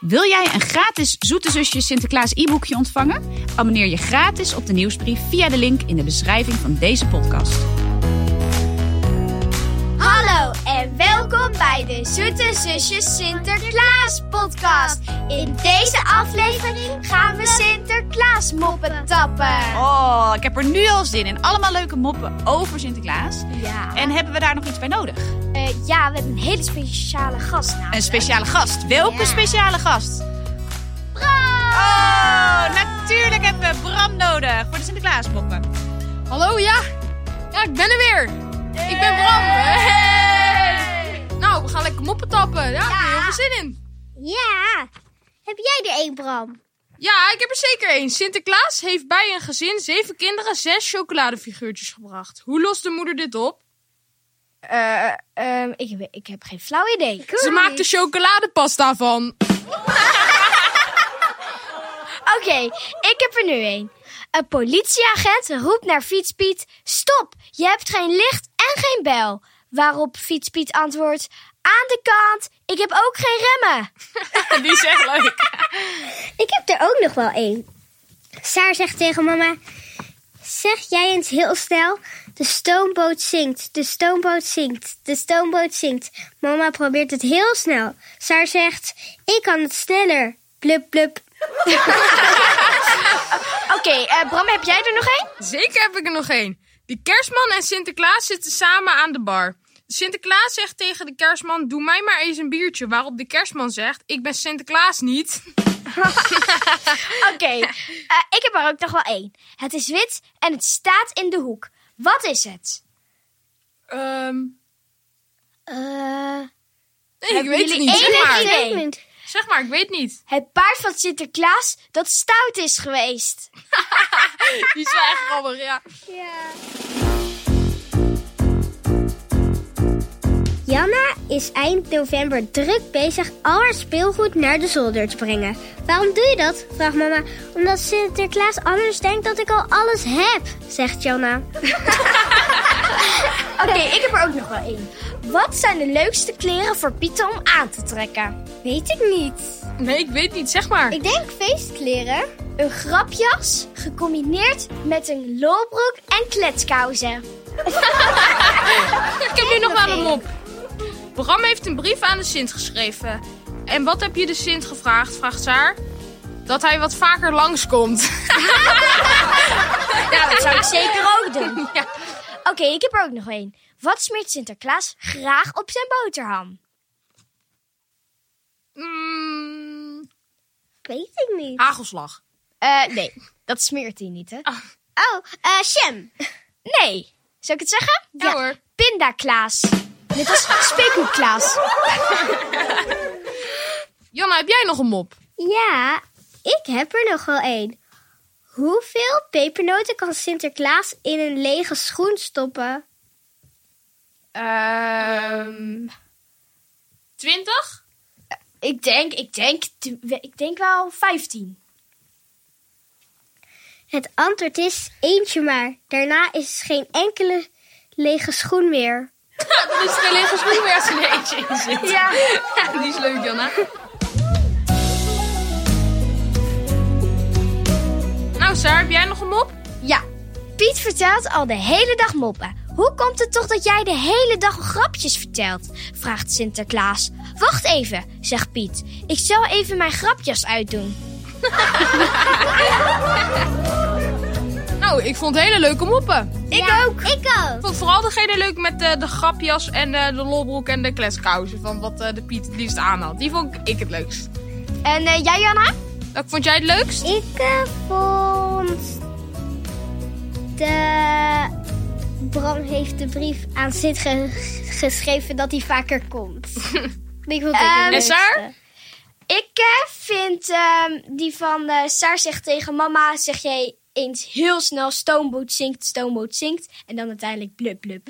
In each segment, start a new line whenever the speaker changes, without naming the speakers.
Wil jij een gratis Zoete Zusjes Sinterklaas e-boekje ontvangen? Abonneer je gratis op de nieuwsbrief via de link in de beschrijving van deze podcast.
Hallo en welkom bij de Zoete Zusjes Sinterklaas podcast. In deze aflevering gaan we Sinterklaas moppen tappen.
Oh, ik heb er nu al zin in. Allemaal leuke moppen over Sinterklaas.
Ja,
En hebben we daar nog iets bij nodig?
eh, ja we hebben een hele speciale gast namelijk.
Een speciale gast. Welke
Ja.
speciale gast? Oh, natuurlijk hebben we Bram nodig voor de Sinterklaas moppen.
Hallo, ja. Ja, ik ben er weer. Ik ben Bram. Nou, we gaan lekker moppen tappen. Ja, ik heb er heel veel zin in.
Ja, heb jij er een Bram?
Ja, ik heb er zeker één. Sinterklaas heeft bij een gezin zeven kinderen zes chocoladefiguurtjes gebracht. Hoe lost de moeder dit op?
Ehm, ik, heb, ik heb geen flauw idee.
Ze maakt er chocoladepasta van.
Oké, ik heb er nu een. Een politieagent roept naar Fietspiet: Stop, je hebt geen licht en geen bel. Waarop Fietspiet antwoordt: Aan de kant, ik heb ook geen remmen.
Die is echt leuk.
Ik heb er ook nog wel één. Saar zegt tegen mama: Zeg jij eens heel snel: De stoomboot zinkt, de stoomboot zinkt, de stoomboot zinkt. Mama probeert het heel snel. Saar zegt: Ik kan het sneller. Blub, blub.
Oké, eh, Bram, heb jij er nog één?
Zeker heb ik er nog één. Die kerstman en Sinterklaas zitten samen aan de bar. Sinterklaas zegt tegen de kerstman: Doe mij maar eens een biertje. Waarop de kerstman zegt: Ik ben Sinterklaas niet.
Oké, eh, ik heb er ook nog wel één. Het is wit en het staat in de hoek. Wat is het?
Ehm.
Eh,
Nee, ik
Hebben
weet het
jullie
niet. Zeg
enig
maar.
idee?
zeg maar, ik weet niet.
het paard van Sinterklaas dat stout is geweest.
Die is wel echt grappig, ja.
Janna is eind november druk bezig al haar speelgoed naar de zolder te brengen. Waarom doe je dat? vraagt mama. Omdat Sinterklaas anders denkt dat ik al alles heb, zegt Janna.
Oké, ik heb er ook nog wel één. Wat zijn de leukste kleren voor Pieter om aan te trekken?
Weet ik niet.
Nee, ik weet niet. Zeg maar.
Ik denk feestkleren.
Een grapjas gecombineerd met een lolbroek en kletskousen.
Ik heb nu nog wel een mop. Bram heeft een brief aan de Sint geschreven. En wat heb je de Sint gevraagd? Vraagt Saar. Dat hij wat vaker langskomt.
Nou, dat zou ik zeker ook doen. Oké, ik heb er ook nog één. Wat smeert Sinterklaas graag op zijn boterham?
Mm,
Weet ik niet.
hagelslag.
Eh, nee, dat smeert hij niet, hè?
Oh, eh Shem.
Nee. Zou ik het zeggen?
Ja, hoor.
Pindaklaas. Dit was speelgoedklaas.
Janna, heb jij nog een mop?
Ja, ik heb er nog wel één. Hoeveel pepernoten kan Sinterklaas in een lege schoen stoppen?
Ehm. Twintig?
Ik denk, ik denk, ik denk wel 15.
Het antwoord is eentje maar. Daarna is geen enkele lege schoen meer.
Dat is de lege schoen weer als er een eentje in zit.
Ja.
Die is leuk, Janna. Nou, Saar, heb jij nog een mop?
Ja, Piet vertelt al de hele dag moppen. Hoe komt het toch dat jij de hele dag grapjes vertelt? vraagt Sinterklaas. Wacht even, zegt Piet. Ik zal even mijn grapjes uitdoen.
Nou, ik vond hele leuke moppen.
Ik ook. Ik ook.
Ik vond vooral degene leuk met eh, de grapjas en eh, de lolbroek en de kletskousen. Van wat eh, de Piet het liefst aan had. Die vond ik het leukst.
En eh, jij, Janna?
Welke vond jij het leukst?
Ik eh, vond de Bram heeft de brief aan Sint ge- geschreven dat hij vaker komt. Die vond ik
Ehm,
het
en
leukste.
Saar?
Ik eh, vind ehm, die van eh, Saar zegt tegen mama, zeg jij eens heel snel stoomboot zinkt, stoomboot zinkt. En dan uiteindelijk blub blub.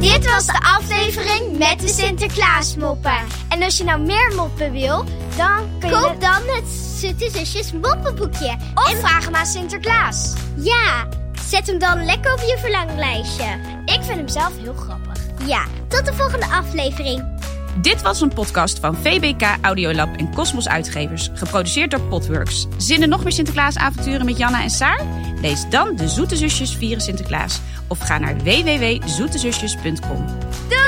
Dit was de aflevering met de Sinterklaas moppen. En als je nou meer moppen wil, dan kun je...
Koop dan het Zutte Zusjes moppenboekje.
Of vraag hem aan Sinterklaas.
Ja, zet hem dan lekker op je verlanglijstje.
Ik vind hem zelf heel grappig.
Ja, tot de volgende aflevering.
Dit was een podcast van VBK Audiolab en Cosmos Uitgevers, geproduceerd door Potworks. Zinnen nog meer Sinterklaasavonturen met Janna en Saar? Lees dan De Zoete Zusjes Vieren Sinterklaas of ga naar www.zoetezusjes.com.
Doei!